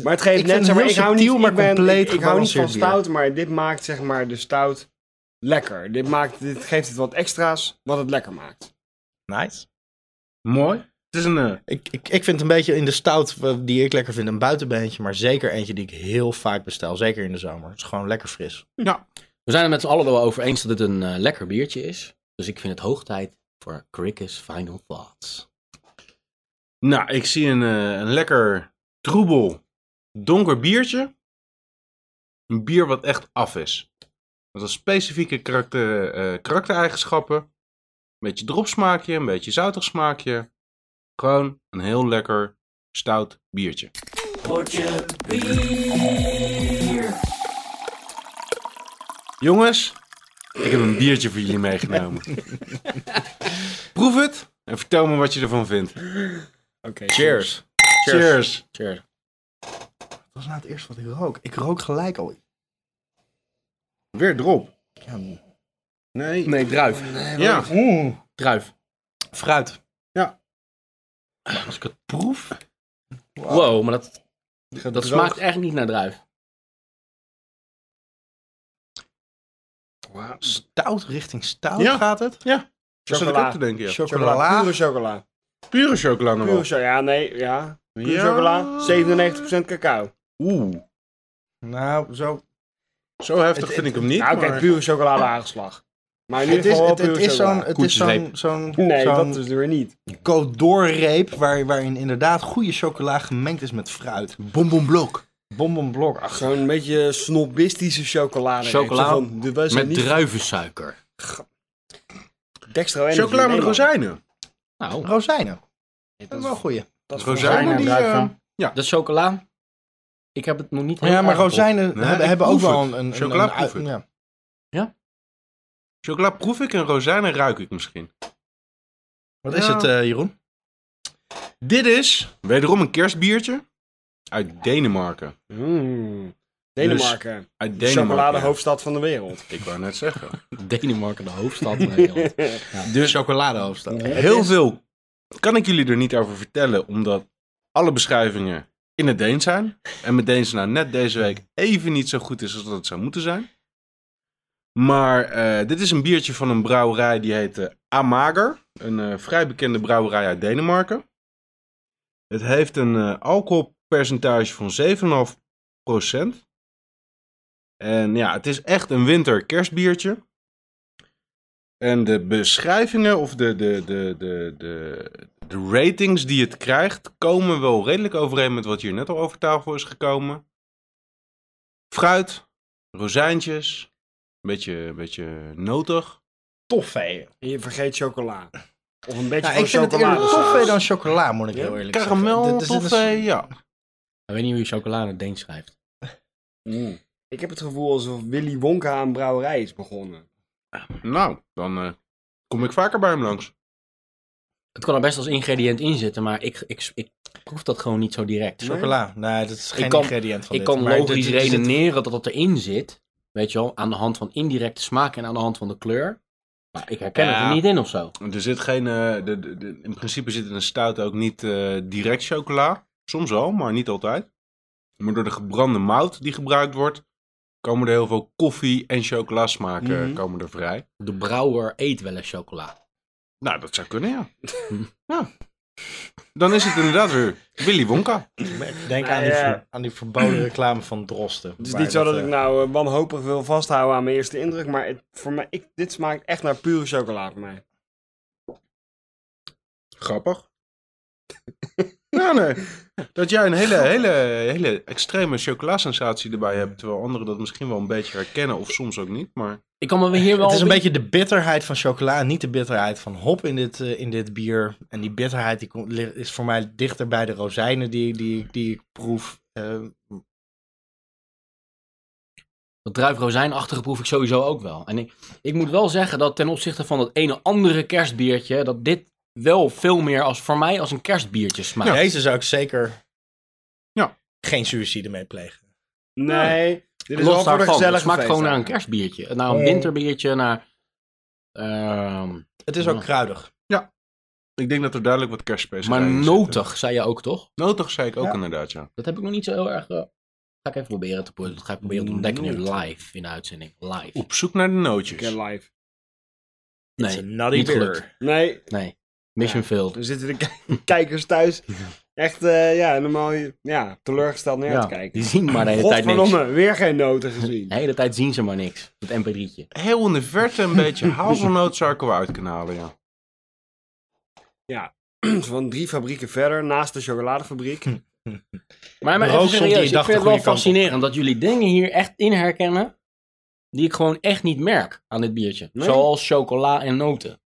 Speaker 3: Maar het geeft
Speaker 5: Ik
Speaker 3: net,
Speaker 5: vind
Speaker 3: zeg maar,
Speaker 5: het
Speaker 3: ik
Speaker 5: heel
Speaker 3: hou niet,
Speaker 5: subtiel, maar
Speaker 3: ik ben-
Speaker 5: compleet
Speaker 3: ik, ik hou niet van
Speaker 5: gebalanceerd bier.
Speaker 3: stout, maar dit maakt zeg maar de stout lekker. Dit, maakt, dit geeft het wat extra's, wat het lekker maakt.
Speaker 5: Nice.
Speaker 4: Mooi. Het is een... eh,
Speaker 5: Ik, ik, ik vind een beetje in de stout eh, die ik lekker vind een buitenbeentje. Maar zeker eentje die ik heel vaak bestel. Zeker in de zomer. Het is gewoon lekker fris.
Speaker 2: We zijn het met z'n allen wel over eens dat het een eh, lekker biertje is. Dus ik vind het hoog tijd voor Cricket's Final Thoughts.
Speaker 4: nou, ik zie een, eh, een lekker troebel, donker biertje. Een bier wat echt af is. Met wat specifieke karakter, eh, karaktereigenschappen. Een beetje dropsmaakje, een beetje zoutig smaakje. Gewoon een heel lekker stout biertje.
Speaker 1: potje bier.
Speaker 4: Jongens, ik heb een biertje voor jullie meegenomen. Proef het en vertel me wat je ervan vindt.
Speaker 3: Oké.
Speaker 4: Cheers. Cheers.
Speaker 2: Cheers.
Speaker 5: Dat was nou het eerste wat ik rook. Ik rook gelijk al.
Speaker 4: Weer drop.
Speaker 5: Ja,
Speaker 4: Nee.
Speaker 2: Nee, druif.
Speaker 4: Ja.
Speaker 2: Druif.
Speaker 5: fruit.
Speaker 2: Eh,
Speaker 4: Als ik het proef.
Speaker 2: Wow, maar dat, dat smaakt echt niet naar druif.
Speaker 5: Stout richting stout
Speaker 4: Ja.
Speaker 5: gaat het.
Speaker 4: Dat zat ik
Speaker 3: Chocola.
Speaker 4: ook te denken, ja.
Speaker 3: Chocola.
Speaker 5: Chocola.
Speaker 3: Pure chocola.
Speaker 4: Pure chocola nog wel.
Speaker 3: Pure chocola, ja, nee, ja. Pure
Speaker 4: Ja.
Speaker 3: chocola, 97% cacao.
Speaker 4: Oeh.
Speaker 5: Nou, zo
Speaker 4: Zo heftig
Speaker 5: Het-
Speaker 4: vind ik hem niet.
Speaker 3: Nou,
Speaker 4: maar-
Speaker 3: kijk, pure chocola de aanslag. Maar in
Speaker 5: Het
Speaker 3: ieder
Speaker 5: is,
Speaker 3: geval
Speaker 5: het, het
Speaker 3: wel
Speaker 5: is
Speaker 3: pure
Speaker 5: zo'n
Speaker 3: chocola.
Speaker 5: het is zo'n
Speaker 4: Koetjesreep.
Speaker 5: zo'n
Speaker 3: Nee,
Speaker 5: zo'n
Speaker 3: dat is er weer niet.
Speaker 5: Côte d'Or-reep waar, waarin inderdaad goede chocola gemengd is met fruit.
Speaker 4: Bonbonblok.
Speaker 5: Bonbonblok. Ach,
Speaker 3: Zo'n beetje snobistische chocolade.
Speaker 2: Chocola
Speaker 3: Zo van, de- wij zijn
Speaker 2: Met
Speaker 3: niet
Speaker 2: druivensuiker.
Speaker 3: Dextro Energy.
Speaker 4: Chocola met
Speaker 3: Nee, man.
Speaker 4: rozijnen.
Speaker 2: Nou,
Speaker 5: rozijnen.
Speaker 3: Dat
Speaker 5: Dat
Speaker 3: is
Speaker 5: is wel een goeie.
Speaker 3: dat is
Speaker 4: Rozijnen eh,
Speaker 3: volgens
Speaker 4: en
Speaker 3: mij-
Speaker 4: druiven.
Speaker 2: dat is chocola. Ik heb het nog niet heel
Speaker 5: Oh Ja, maar
Speaker 2: erg op.
Speaker 5: rozijnen
Speaker 4: Nee,
Speaker 5: hebben,
Speaker 4: ik
Speaker 5: hebben ook
Speaker 4: proef
Speaker 5: wel
Speaker 4: het.
Speaker 5: een... een,
Speaker 4: Chocola
Speaker 5: een-
Speaker 4: proef ik.
Speaker 5: ja.
Speaker 4: Chocola proef ik en rozijnen ruik ik misschien.
Speaker 5: Wat
Speaker 4: Ja.
Speaker 5: is het, eh, Jeroen?
Speaker 4: Dit is wederom een kerstbiertje uit Denemarken.
Speaker 3: Mm. Denemarken.
Speaker 4: Uit
Speaker 3: De
Speaker 4: Denemarken.
Speaker 3: chocoladehoofdstad van de wereld.
Speaker 4: Ik wou net zeggen.
Speaker 2: Denemarken, de hoofdstad
Speaker 5: <laughs>
Speaker 2: van Nederland.
Speaker 3: <laughs>
Speaker 5: De chocoladehoofdstad.
Speaker 4: Heel veel kan ik jullie er niet over vertellen, omdat alle beschrijvingen in het Deens zijn. En met Deens nou net deze week even niet zo goed is als dat het zou moeten zijn. Maar eh, dit is een biertje van een brouwerij die heet eh, Amager. Een eh, vrij bekende brouwerij uit Denemarken. Het heeft een eh, alcoholpercentage van 7,5%. En ja, het is echt een winter-kerstbiertje. En de beschrijvingen of de, de, de, de, de, de ratings die het krijgt, komen wel redelijk overeen met wat hier net al over tafel is gekomen. Fruit, rozijntjes, een beetje, beetje notig.
Speaker 5: Toffee.
Speaker 3: En je vergeet chocola. Of een beetje
Speaker 5: Nou,
Speaker 3: van
Speaker 5: ik vind het eerder
Speaker 3: chocolade.
Speaker 5: toffee dan chocola, moet ik
Speaker 3: Ja.
Speaker 5: heel eerlijk zeggen.
Speaker 4: Karamel,
Speaker 5: Dit is- dit is-
Speaker 4: toffee, ja.
Speaker 2: Ik weet niet hoe je chocola in het Deens schrijft.
Speaker 3: Mm. Ik heb het gevoel alsof Willy Wonka aan brouwerij is begonnen.
Speaker 4: Nou, dan eh, kom ik vaker bij hem langs.
Speaker 2: Het kan er best als ingrediënt in zitten, maar ik, ik, ik proef dat gewoon niet zo direct.
Speaker 5: Chocola. Nee, dat is geen
Speaker 2: kan-
Speaker 5: ingrediënt van
Speaker 2: Ik
Speaker 5: dit.
Speaker 2: kan
Speaker 5: Maar dit-
Speaker 2: logisch
Speaker 5: dit- dit- dit-
Speaker 2: redeneren dat dat erin zit. Weet je wel, aan de hand van indirecte smaak en aan de hand van de kleur. Maar ik herken het
Speaker 4: Ja.
Speaker 2: er niet in of zo.
Speaker 4: Er zit geen, eh, de, de- de- in principe zit in een stout ook niet eh, direct chocola. Soms wel, maar niet altijd. Maar door de gebrande mout die gebruikt wordt, komen er heel veel koffie- en chocolasmaken
Speaker 3: Mhm.
Speaker 4: komen er vrij.
Speaker 2: De brouwer eet wel eens chocola.
Speaker 4: Nou, dat zou kunnen, ja. ja. Dan is het inderdaad weer Willy Wonka.
Speaker 5: Denk
Speaker 3: Nou
Speaker 5: aan, die,
Speaker 3: ja.
Speaker 5: ver- aan die
Speaker 3: <clears throat>
Speaker 5: verboden reclame van Drosten.
Speaker 3: Het is
Speaker 5: waar
Speaker 3: niet zo dat
Speaker 5: eh,
Speaker 3: ik nou eh, wanhopig wil vasthouden aan mijn eerste indruk, maar het, voor mij, ik, dit smaakt echt naar pure chocola voor mij.
Speaker 4: Grappig. Nou, nee. Dat jij een hele, hele, hele extreme chocolasensatie erbij hebt, terwijl anderen dat misschien wel een beetje herkennen of soms ook niet, maar...
Speaker 2: Ik kan me
Speaker 5: <laughs>
Speaker 2: hier wel...
Speaker 5: Het is een beetje de bitterheid van chocola en niet de bitterheid van hop in dit, eh, in dit bier. En die bitterheid die komt- li- is voor mij dichter bij de rozijnen die, die, die ik proef. Eh,
Speaker 2: Dat druifrozijnachtige proef ik sowieso ook wel. En ik, ik moet wel zeggen dat ten opzichte van dat ene andere kerstbiertje... dat dit wel veel meer als, voor mij als een kerstbiertje smaakt.
Speaker 5: Deze zou ik zeker
Speaker 4: Ja.
Speaker 5: geen suïcide mee plegen.
Speaker 3: Nee, dit is
Speaker 2: Los
Speaker 3: wel voor de
Speaker 2: daarvan,
Speaker 3: gezellige
Speaker 2: Het smaakt gewoon naar een
Speaker 3: feestdagen.
Speaker 2: kerstbiertje. Naar een winterbiertje, naar... ehm,
Speaker 5: Het is
Speaker 2: Ja.
Speaker 5: ook kruidig.
Speaker 4: Ik denk dat er duidelijk wat kerstspecies
Speaker 2: maar
Speaker 4: in zitten.
Speaker 2: notig, zei je ook toch?
Speaker 4: Nodig zei ik ook
Speaker 5: Ja.
Speaker 4: inderdaad, ja.
Speaker 2: Dat heb ik nog niet zo heel erg... eh, ga ik even proberen te pro- Dat ga ik proberen te ontdekken nu live in de uitzending. Live.
Speaker 4: Op zoek naar de nootjes.
Speaker 3: Oké, live.
Speaker 5: It's a
Speaker 2: Nee,
Speaker 5: nutty
Speaker 2: niet
Speaker 5: beer.
Speaker 2: gelukt.
Speaker 3: Nee,
Speaker 2: nee. Mission failed.
Speaker 3: dan zitten de k- <laughs> kijkers thuis echt eh, ja, normaal ja, teleurgesteld neer te
Speaker 2: Ja,
Speaker 3: kijken.
Speaker 2: die zien maar de hele tijd niks.
Speaker 3: Godverdomme, weer geen noten
Speaker 2: De
Speaker 3: gezien.
Speaker 2: hele tijd zien ze maar niks. Dat mp3'tje.
Speaker 4: Heel in de verte een <laughs> beetje hazelnoot zou ik er wel uit kunnen halen, ja.
Speaker 3: <clears throat> Van drie fabrieken verder, naast de chocoladefabriek.
Speaker 5: Hm.
Speaker 2: Maar, maar
Speaker 5: De
Speaker 2: even
Speaker 5: rook stond die
Speaker 2: serieus, ik vind het
Speaker 5: dag de goede
Speaker 2: wel
Speaker 5: kant op.
Speaker 2: fascinerend dat jullie dingen hier echt in herkennen die ik gewoon echt niet merk aan dit biertje.
Speaker 3: Nee.
Speaker 2: Zoals chocola en noten.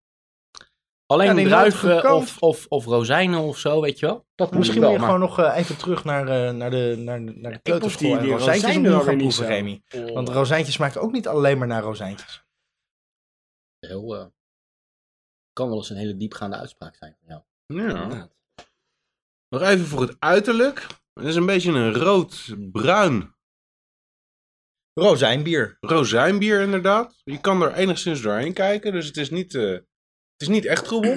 Speaker 2: Alleen
Speaker 5: Ja, die
Speaker 2: druiven
Speaker 5: noten
Speaker 2: of, of, of rozijnen of zo, weet je wel. Dat
Speaker 5: Misschien
Speaker 2: wel,
Speaker 5: weer
Speaker 2: maar-
Speaker 5: gewoon nog eh, even terug naar, eh, naar de, naar, de- naar de
Speaker 3: proef
Speaker 5: kleuterschool.
Speaker 3: die-
Speaker 5: en
Speaker 3: die
Speaker 5: rozijntjes
Speaker 3: rozijnen
Speaker 5: opnieuw
Speaker 3: alweer
Speaker 5: gaan
Speaker 3: niet
Speaker 5: proeven,
Speaker 3: zo. Oh.
Speaker 5: Remy. Want rozijntjes smaakt ook niet alleen maar naar rozijntjes.
Speaker 2: heel, eh, kan wel eens een hele diepgaande uitspraak zijn. Ja.
Speaker 4: Ja. Nog even voor het uiterlijk. Het is een beetje een rood-bruin
Speaker 5: Rozijnbier.
Speaker 4: rozijnbier inderdaad. Je kan er enigszins doorheen kijken, dus het is niet, eh, het is niet echt troebel.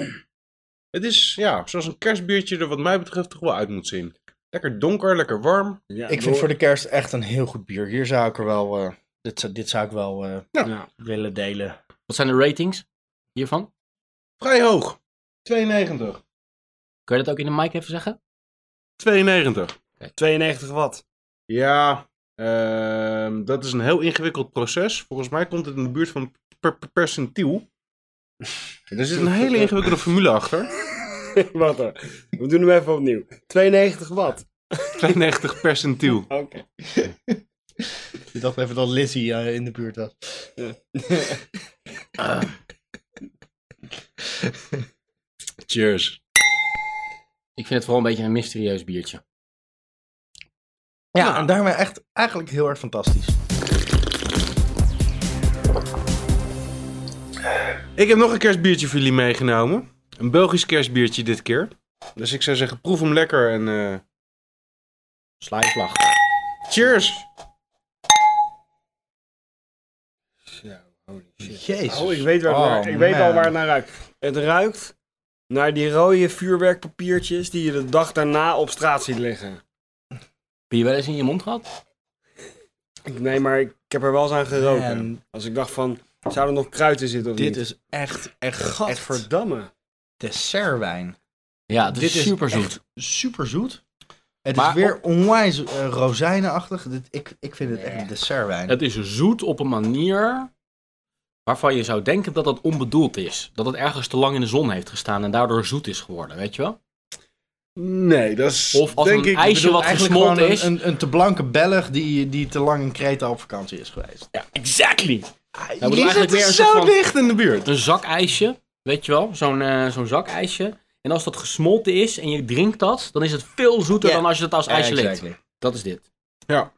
Speaker 4: Het is, ja, zoals een kerstbiertje er wat mij betreft toch wel uit moet zien. Lekker donker, lekker warm.
Speaker 3: Ja,
Speaker 5: Ik vind
Speaker 3: door-
Speaker 5: voor de kerst echt een heel goed bier. Hier zou ik er wel... eh, dit, zou- dit zou ik wel eh,
Speaker 3: Ja.
Speaker 5: willen delen.
Speaker 2: Wat zijn de ratings hiervan?
Speaker 4: Vrij hoog. 92.
Speaker 2: Kun je dat ook in de mic even zeggen?
Speaker 4: 92.
Speaker 3: 92 watt.
Speaker 4: Ja, Ehm, dat is een heel ingewikkeld proces. Volgens mij komt het in de buurt van per- per- percentiel. Er zit een hele ingewikkelde formule achter.
Speaker 3: <laughs> Wat dan? We doen hem even opnieuw. 92 watt.
Speaker 4: 92 percentiel.
Speaker 3: Oké.
Speaker 5: Ik dacht even dat Lizzie eh, in de buurt was.
Speaker 4: Cheers.
Speaker 2: Ik vind het vooral een beetje een mysterieus biertje.
Speaker 5: Ja, Nou, en daarmee echt eigenlijk heel erg fantastisch.
Speaker 4: Ik heb nog een kerstbiertje voor jullie meegenomen. Een Belgisch kerstbiertje dit keer. Dus ik zou zeggen, proef hem lekker en eh,
Speaker 2: Sla je vlag.
Speaker 4: cheers.
Speaker 5: Jezus.
Speaker 3: Oh, ik weet, waar het
Speaker 5: Oh,
Speaker 3: naar- ik weet al
Speaker 5: man.
Speaker 3: waar het naar ruikt. Het ruikt naar die rode vuurwerkpapiertjes die je de dag daarna op straat ziet liggen.
Speaker 2: Heb je wel eens in je mond gehad?
Speaker 3: Ik- Nee, maar ik, ik heb er wel eens aan geroken.
Speaker 5: Man.
Speaker 3: Als ik dacht van, zou er nog kruid in zitten of
Speaker 5: Dit
Speaker 3: niet?
Speaker 5: is echt, echt,
Speaker 3: Echt
Speaker 5: echt
Speaker 3: verdamme.
Speaker 5: dessertwijn.
Speaker 2: Ja, het is
Speaker 5: Dit is
Speaker 2: super zoet.
Speaker 5: echt super zoet. Het
Speaker 2: Maar
Speaker 5: is weer onwijs eh, rozijnenachtig. Dit, ik, ik vind het echt een dessertwijn.
Speaker 2: Het is zoet op een manier waarvan je zou denken dat dat onbedoeld is. Dat het ergens te lang in de zon heeft gestaan en daardoor zoet is geworden, weet je wel?
Speaker 4: Nee, dat is
Speaker 2: Of als
Speaker 4: denk
Speaker 2: een
Speaker 4: ik...
Speaker 2: ijsje
Speaker 5: bedoel
Speaker 2: wat
Speaker 5: eigenlijk
Speaker 2: gesmolten
Speaker 5: gewoon
Speaker 2: is.
Speaker 5: Een, een, een te blanke Belg die, die te lang in Kreta op vakantie is geweest.
Speaker 2: Ja, exactly.
Speaker 5: Hij
Speaker 2: bedoel eigenlijk weer een
Speaker 5: zo
Speaker 2: soort van-
Speaker 5: dicht in de buurt.
Speaker 2: Een zakijsje, weet je wel? Zo'n eh, zo'n zakijsje. En als dat gesmolten is en je drinkt dat, dan is het veel zoeter
Speaker 5: Ja.
Speaker 2: dan als je dat als ijsje likt.
Speaker 5: Exactly.
Speaker 2: Dat is dit.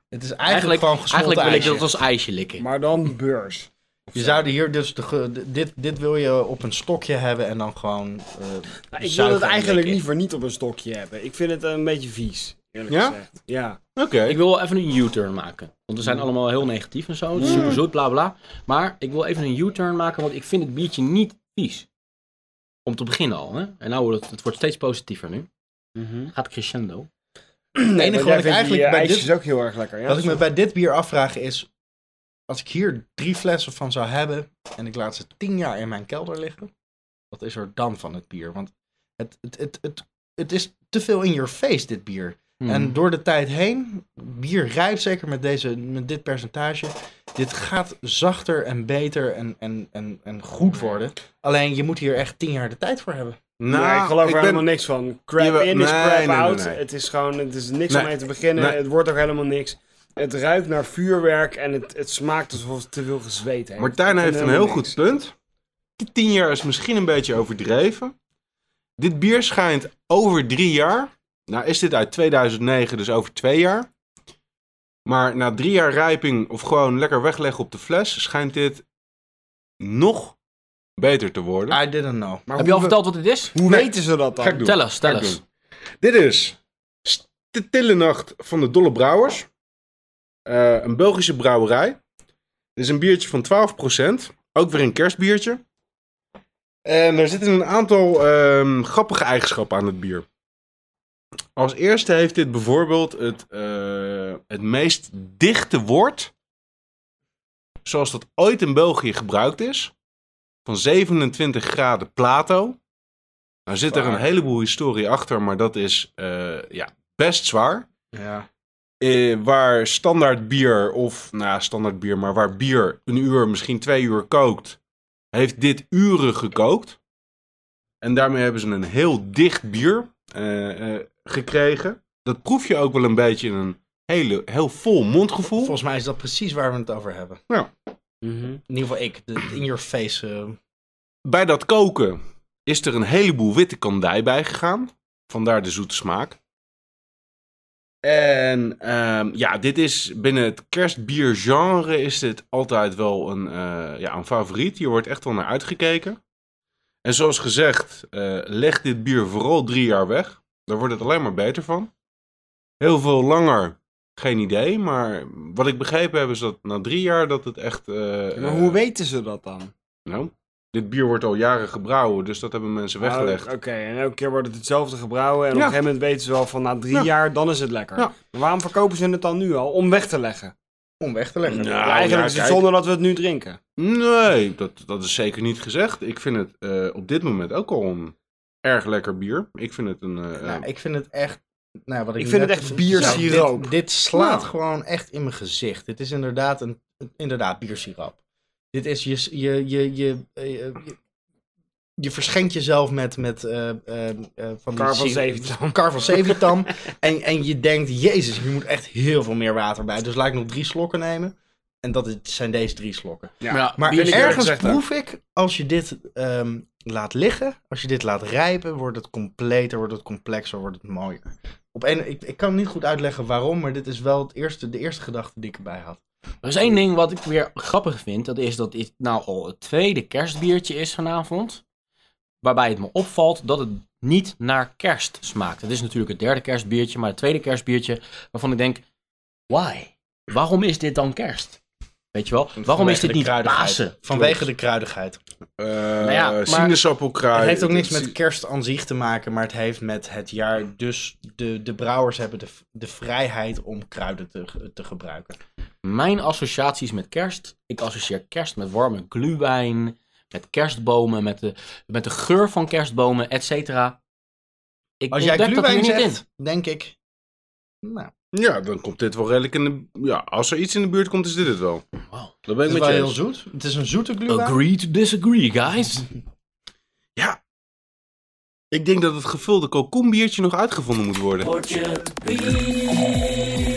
Speaker 5: Het is eigenlijk, gewoon gesmolten
Speaker 2: eigenlijk wil ik
Speaker 5: ijsje.
Speaker 2: dat als ijsje likken.
Speaker 3: Maar dan beurs.
Speaker 5: Je zou hier dus de, ge- d- dit, dit wil je op een stokje hebben en dan gewoon. eh,
Speaker 3: Nou, ik wil
Speaker 5: zuigen
Speaker 3: het
Speaker 5: en
Speaker 3: eigenlijk
Speaker 5: likken.
Speaker 3: liever niet op een stokje hebben. Ik vind het een beetje vies, eerlijk
Speaker 4: Ja?
Speaker 3: gezegd. Ja?
Speaker 4: Oké.
Speaker 2: Ik wil wel even een U-turn maken. Want we zijn allemaal heel negatief en zo. Het is super zoet, bla bla. Maar ik wil even een U-turn maken, want ik vind het biertje niet vies. Om te beginnen al, hè? En nou, wordt het, het wordt steeds positiever nu. Gaat crescendo.
Speaker 3: Het
Speaker 5: enige wat ik eigenlijk bij dit-
Speaker 3: is eh, ook heel erg lekker, ja?
Speaker 5: Wat ik me bij dit bier afvraag is. Als ik hier drie flessen van zou hebben en ik laat ze tien jaar in mijn kelder liggen, wat is er dan van het bier? Want het, het, het, het, het is te veel in your face, dit bier.
Speaker 3: Hmm.
Speaker 5: En door de tijd heen, bier rijpt zeker met, deze, met dit percentage. Dit gaat zachter en beter en, en, en, en goed
Speaker 3: Hmm.
Speaker 5: worden. Alleen je moet hier echt tien jaar de tijd voor hebben.
Speaker 4: Nou,
Speaker 3: nee, ik geloof er
Speaker 4: ben-
Speaker 3: helemaal niks van. Crap
Speaker 4: Jawel,
Speaker 3: in is
Speaker 4: nee,
Speaker 3: crap
Speaker 4: nee, nee,
Speaker 3: out.
Speaker 4: nee.
Speaker 3: Het is gewoon, het is niks
Speaker 4: Nee,
Speaker 3: om mee te beginnen.
Speaker 4: nee.
Speaker 3: Het wordt ook helemaal niks. Het ruikt naar vuurwerk en het, het smaakt alsof het te veel gezweet heeft. Ik
Speaker 4: Martijn
Speaker 3: vind
Speaker 4: heeft een
Speaker 3: helemaal
Speaker 4: heel
Speaker 3: niks.
Speaker 4: goed punt. Die Tien jaar is misschien een beetje overdreven. Dit bier schijnt over drie jaar. Nou is dit uit 2009, dus over twee jaar. Maar na drie jaar rijping of gewoon lekker wegleggen op de fles, schijnt dit nog beter te worden.
Speaker 5: I didn't know.
Speaker 3: Maar
Speaker 2: Heb je al
Speaker 3: hoe we-
Speaker 2: verteld wat het is?
Speaker 3: Hoe
Speaker 4: Nee.
Speaker 3: weten ze dat dan?
Speaker 4: Ga ik doen.
Speaker 2: Tel eens, tel
Speaker 4: Ga ik
Speaker 2: eens.
Speaker 4: doen. Dit is St- de Stille Nacht van de Dolle Brouwers. Eh, een Belgische brouwerij. Dit is een biertje van 12%. Ook weer een kerstbiertje. En er zitten een aantal ehm, grappige eigenschappen aan het bier. Als eerste heeft dit bijvoorbeeld het, eh, het meest dichte woord. Zoals dat ooit in België gebruikt is. Van 27 graden Plato. Nou zit er een heleboel historie achter, maar dat is eh, ja, best zwaar.
Speaker 5: Ja.
Speaker 4: Eh, waar standaard bier, of nou ja, standaard bier, maar waar bier een uur, misschien twee uur kookt, heeft dit uren gekookt. En daarmee hebben ze een heel dicht bier eh, eh, gekregen. Dat proef je ook wel een beetje in een hele, heel vol mondgevoel.
Speaker 5: Volgens mij is dat precies waar we het over hebben. In ieder geval ik. De- in your face. eh,
Speaker 4: Bij dat koken is er een heleboel witte kandij bij gegaan. Vandaar de zoete smaak. En ehm, ja, dit is binnen het kerstbiergenre is dit altijd wel een, eh, ja, een favoriet. Hier wordt echt wel naar uitgekeken. En zoals gezegd, eh, leg dit bier vooral drie jaar weg. Daar wordt het alleen maar beter van. Heel veel langer, geen idee. Maar wat ik begrepen heb is dat na drie jaar dat het echt... eh,
Speaker 3: Maar
Speaker 4: eh,
Speaker 3: hoe weten ze dat dan?
Speaker 4: nou, dit bier wordt al jaren gebrouwen, dus dat hebben mensen weggelegd.
Speaker 3: Oh, Oké, en elke keer wordt het hetzelfde gebrouwen. En op
Speaker 4: Ja.
Speaker 3: een gegeven moment weten ze wel van na drie
Speaker 4: Ja.
Speaker 3: jaar, dan is het lekker.
Speaker 4: Ja.
Speaker 3: Maar waarom verkopen ze het dan nu al? Om weg te leggen.
Speaker 5: om weg te leggen.
Speaker 4: Nou,
Speaker 3: eigenlijk
Speaker 4: ja,
Speaker 3: is het
Speaker 4: kijk.
Speaker 3: zonder dat we het nu drinken.
Speaker 4: Nee, dat, dat is zeker niet gezegd. Ik vind het eh, op dit moment ook al een erg lekker bier. Ik vind het een... eh,
Speaker 5: Nou, ik vind het echt nou, wat ik,
Speaker 3: Nou, Ik vind
Speaker 5: net- Nou,
Speaker 3: het echt biersiroop.
Speaker 5: Dit, dit slaat gewoon echt in mijn gezicht. Dit is inderdaad, een, inderdaad biersiroop. Dit is je, je, je, je, eh, je, je verschenkt jezelf met, met eh, eh, eh, van die
Speaker 3: Kar van
Speaker 5: si-
Speaker 3: Zeventam.
Speaker 5: Kar van Zeventam. <laughs> en, en je denkt, jezus, hier moet echt heel veel meer water bij. Dus laat ik nog drie slokken nemen. En dat is- zijn deze drie slokken.
Speaker 2: Ja, maar,
Speaker 5: Maar
Speaker 4: Vind ik eerlijk
Speaker 5: ergens
Speaker 4: gezegd, hè.
Speaker 5: proef ik, als je dit ehm, laat liggen, als je dit laat rijpen, wordt het completer, wordt het complexer, wordt het mooier. Op een, ik, ik kan niet goed uitleggen waarom, maar dit is wel het eerste, de eerste gedachte die ik erbij had.
Speaker 2: er is één ding wat ik weer grappig vind. Dat is dat dit nou al het tweede kerstbiertje is vanavond. Waarbij het me opvalt dat het niet naar kerst smaakt. Het is natuurlijk het derde kerstbiertje, maar het tweede kerstbiertje waarvan ik denk, why? Waarom is dit dan kerst? Weet je wel? Waarom is dit niet Pasen?
Speaker 5: Vanwege de kruidigheid.
Speaker 4: Eh
Speaker 2: ja, maar-
Speaker 4: sinaasappelkraai.
Speaker 5: nou Het heeft ook niks
Speaker 4: Dat
Speaker 5: met kerst aan zich te maken, maar het heeft met het jaar. Dus de, de brouwers hebben de, de vrijheid om kruiden te, te gebruiken.
Speaker 2: Mijn associaties met kerst. Ik associeer kerst met warme glühwein, met kerstbomen, met de, met de geur van kerstbomen, et cetera. Ik
Speaker 5: Als jij
Speaker 2: ontdek dat hier
Speaker 5: gluwijn
Speaker 2: niet
Speaker 5: zegt,
Speaker 2: in.
Speaker 5: denk ik, nou,
Speaker 4: Ja, dan komt dit wel redelijk in de... Ja, als er iets in de buurt komt, is dit het wel.
Speaker 2: Wow.
Speaker 4: Dat ben ik
Speaker 5: het is
Speaker 4: met
Speaker 5: wel
Speaker 4: je
Speaker 5: heel
Speaker 4: eens.
Speaker 5: zoet. Het is een zoete
Speaker 2: Oh,
Speaker 5: gluwijn.
Speaker 2: Agree to disagree, guys.
Speaker 4: Ik denk dat het gevulde kalkoenbiertje nog uitgevonden moet worden.
Speaker 1: Potje bier.